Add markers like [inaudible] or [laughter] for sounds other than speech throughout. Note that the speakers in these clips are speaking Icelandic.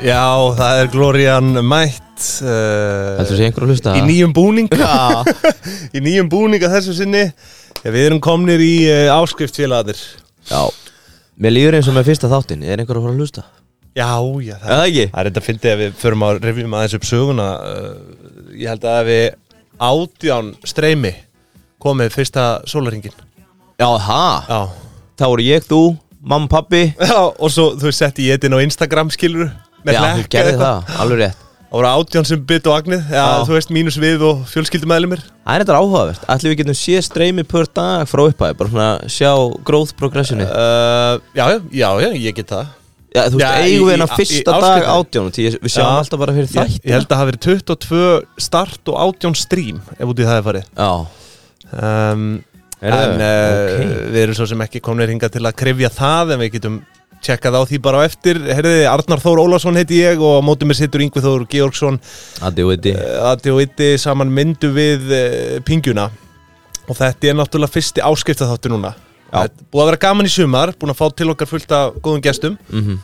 Já, það er Glorian mætt uh, Heldur þú sé einhver að hlusta? í [laughs] nýjum búning [laughs] í nýjum búning að þessu sinni Já, við erum komnir í uh, áskriftfélagarnir Já Mér líður eins og með fyrsta þáttin Er einhver að fara að hlusta? Já, já, Er það ekki? Það er þetta fyndið að við förum að rifjum aðeins upp söguna uh, Ég held að við átján streymi komið fyrsta sólaringin Já, ha? Já Þá voru ég, þú, mamma, pappi Já, og svo þú setti ég þetta á Instagram skilur Já, þú gerði það, alveg rétt Það voru átján sem bytt og agnið, já, Já. þú veist, mínus við og fjölskyldumæðlumir Það er þetta áhugavert Ætli við getum sé streymi pör dag frá upphæði Bara svona sjá growth progressioni uh, Já, já, já, já, ég get það Já, þú já, veist, í- eigum við í- hennar í- fyrsta í dag áskriftinni. átján Því ég- við sjáum Já. alltaf bara fyrir ég, þætt ég held að það hafi verið 22 start og átján stream ef út í það er farið Já um, Er það? En uh, Ok. við erum svo sem ekki komnir hinga til að krifja það en við getum tjekkað á því bara á eftir Herði, Arnar Þór Ólafsson heiti ég og á móti mér sittur Yngvi Þór Georgsson Addi og Eh, Eddi Adi og Itti saman myndu við uh, pingjuna og þetta er náttúrulega fyrsti áskiptaþáttur núna Já. Þetta er Búið að vera gaman í sumar, búin að fá til okkar fullt af góðum gestum Mhm.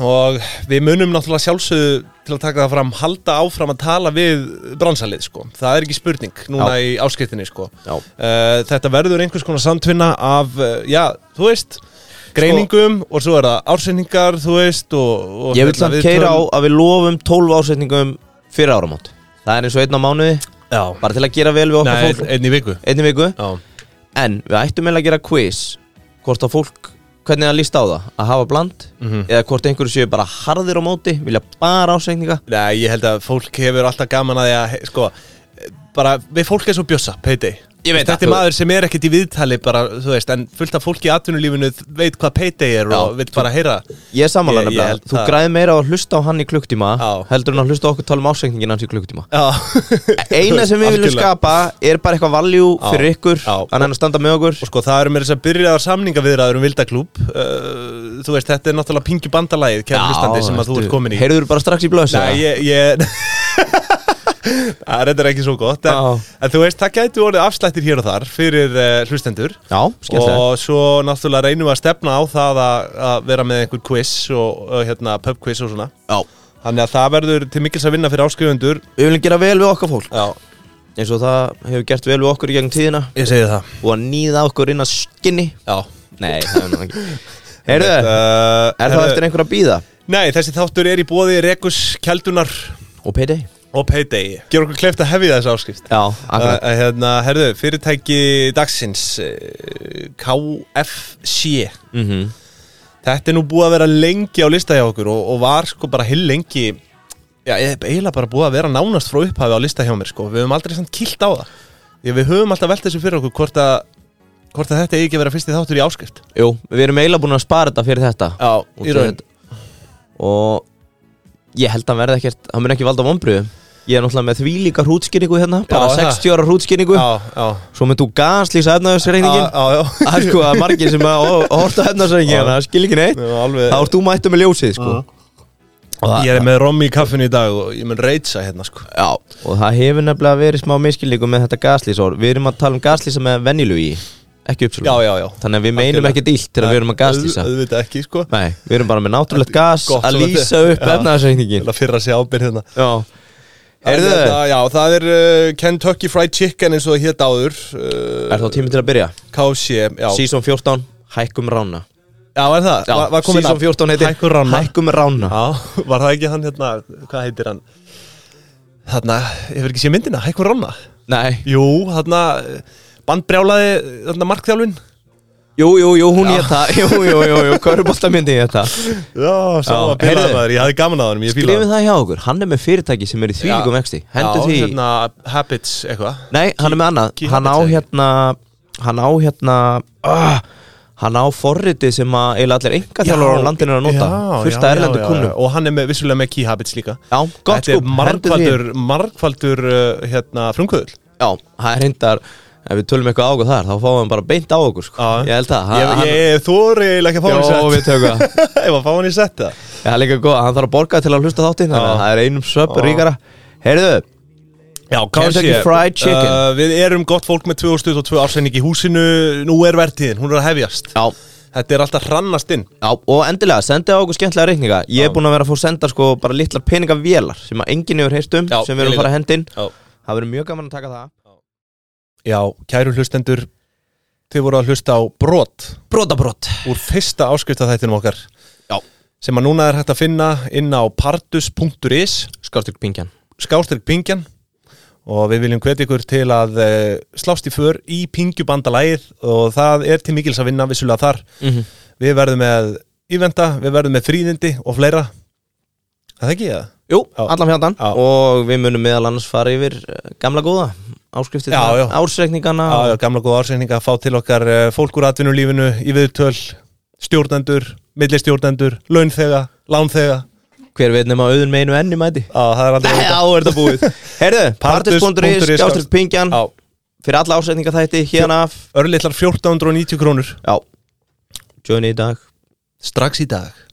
og við munum náttúrulega sjálfsögðu til að taka það fram, halda áfram að tala við bransalið sko, það er ekki spurning núna í áskiptinni sko Já uh, þetta verður einhvers konar samtvinna af, uh, já, þú veist Sko- greiningum og svo er það ársendingar, þú veist og, og Ég vil hérna, samt viðtöl. keira á að við lofum 12 ásetningum fyrir áramót Það er eins og einn á mánuði Já, Bara til að gera vel við okkar Nei, fólk einn í viku Einni viku Já, En við ættum eiginlega að gera quiz Hvort að fólk, hvernig það líst á það Að hafa bland Mhm. Eða hvort einhverju séu bara harðir á móti Vilja bara ásetninga Nei, ég held að fólk hefur alltaf gaman að því að, he- sko, bara, við fólk er svo bjössa, Payday. Ég veit Þetta það, er þú- maður sem er ekkert í viðtali bara, þú veist, en fullt af fólki í atvinnulífinu veit hvað Payday er Já, og vil bara heyra. Ég er sammála Ég- ég nefnilega held Þú það. græði meira á að hlusta á hann í klukktíma Já. Heldur en að hlusta á okkur tala um ásetningin hans í [laughs] klukktíma Já. Eina sem við viljum Algjörlega. skapa er bara eitthvað valjú Já. fyrir ykkur Já. Þannig að standa með okkur Og sko, það eru með þess að byrjaðar samningaviðraður um Vildaklúb. Uh, þú veist, þetta er náttúrulega pingju bandalagið, kæra hlustandi, sem að þú ert komin í. Heyrður bara strax í blöðs Nei, ég, ég... [laughs] Það er þetta ekki svo gott, Já. en, en þú veist, það gæti orðið afslættir hér og þar fyrir uh, hlustendur. Já, skemmtilega og svo náttúrulega reynum við að stefna á það að, að vera með einhver quiz og uh, hérna, pub quiz og svona Já. þannig að það verður til mikils að vinna fyrir áskrifundur Við viljum gera vel við okkar fólk já, eins og það hefur gert vel við okkur í gegnum tíðina ég segi það og að nýða okkur inn að skinni já. Nei, það er nú ekki Heyrðu, Einmitt, uh, er það eftir einhver að býða? Nei, þessi þáttur er í bóði Rekus, Kjeldunar Og payday? og Payday Gjör okkur kleift að hefja þessi áskrift Já, Uh, akkurat hérna, herðu, fyrirtæki dagsins uh, KFC mm -hmm. Þetta er nú búið að vera lengi á lista hjá okkur og, og var sko bara hill lengi Já, e- eiginlega bara búið að vera nánast frá upphafi á lista hjá mér sko Við höfum aldrei samt kilt á það Því að við höfum alltaf velt þessu fyrir okkur hvort að, hvort að þetta eigi ekki að vera fyrsti þáttur í áskrift Jú, við erum eiginlega búin að spara þetta fyrir þetta Já, Og í svo raun þetta- Og ég held að hann verði ekkert Hann mun ekki valda vonbröðum Ég er náttúrulega með því líka hrútskýringu hérna Bara Já, það. 60 ára hrútskýringu Já, já Svo mynd þú gaslýsa Já, efnaðursreikningin já, já Það er sko að margir sem að horta efnaðursreikningin Það skil ekki neitt Nú, alveg, Þá ert þú mættu með ljósið sko Ég er með rommi í kaffinu í dag og ég mun reitsa hérna sko Já, og það hefur nefnilega verið smá miskilningu með þetta gaslýsor Við erum að tala um gaslýsa með venjulu í, ekki uppsölu Já, já, já Þannig að við meinum Algjörlega. ekki dílt til að við erum að gaslýsa Auð- Auðvitað ekki sko Nei, við erum bara með náttúrulegt gas Gott að sem þetta- lýsa upp Já. Til efnaðarsreikningin að fyrra sig ábyrð hérna Já, heyrðu, Þetta- Já, það er uh, Kentucky Fried Chicken eins og það hétt áður uh, er þá tími til að byrja? KFC, já Season 14, hækkum rána Já, er það? Já, var, var komin Season að- 14 heitir Hækkur Ranna Hækkum rána Já, var það ekki hann hérna, hvað heitir hann? Þarna, hefur ekki séð myndina, Hækkur Ranna Nei, Jú, þarna, bandbrjálaði, þarna markþjálfin jú, jú, jú, hún ég það [laughs] Jú, jú, jú, jú, körubóltamyndi ég það Já, Já, sama heyrðu. bilaði maður, ég hafði gaman að honum, ég fílaði Skrifum það hjá okkur, hann er með fyrirtæki sem er í því líkum vexti Hendur því Já, hérna, Habits, eitthvað Nei, hann er með annað key Hann á habits, hérna Hann á hérna uh, Hann á forritið sem að eiginlega allir enga þjálfur á Já, landinu er að nota já, Fullt af já, erlendu já, já, kunnum já. Og hann er með, vissulega með Key Habits líka Já, gott Þetta skúp, er hendur því margfaldur, margfaldur, uh, hérna, frumkvöðul Já, það er hindar Ef við tölum eitthvað á okkur þar, þá fáum við hann bara beint á okkur sko. Já. Ég held það Ég, hann- ég þóri eiginlega ekki að fá hann í Jó, sett við tökum það. [laughs] Ég var að fá hann í sett það Já, það er líka góð, hann þarf að borga til að hlusta þáttinn Þannig að Já. það er einum söp ríkara Heyrðu, Já, Kentucky Uh, Fried Chicken. Við erum gott fólk með 2002 ársæning í húsinu Nú er vertíðin, hún er að hefjast já, Þetta er alltaf hrannast inn Já, og endilega, sendið á okkur skemmtilega reikninga Ég er búinn að vera að fá senda sko bara litlar peningavélar sem að enginn hefur heyrt um, Já, sem við erum ég að fara að henda inn Já, Það verður mjög gaman að taka það Já kæru hlustendur Þið voru að hlusta á brot Brotabrót úr fyrsta áskriftað okkar Já. sem að núna er hægt að finna inn á pardus.is Skáttur pingjan skástrík pingjan og við viljum hvetja ykkur til að eh, slást í för í pingjubandalægið og það er til mikils að vinna vissulega þar mm -hmm. við verðum með ívenda, við verðum með fríðindi og fleira Er það ekki ég það? Jú, Já. allan fjöndan Já. Og við munum meðal annars fara yfir eh, gamla góða Áskriftið Já, já. ársreikningana Já, já, gamla góða ársreininga að fá til okkar eh, fólk úr atvinnulífinu í viðtöl, stjórnendur, millistjórnendur, launþega, lánþega Hver veit nema auðun með einu enni mæti Já, það er aldrei Já, er þetta [laughs] búið Herðu, partus.is, Partus.is, skáttur pingjan Já, Fyrir alla ársreikninga þætti hérna af örlittlar 1490 krónur Já, Johnny í dag Strax í dag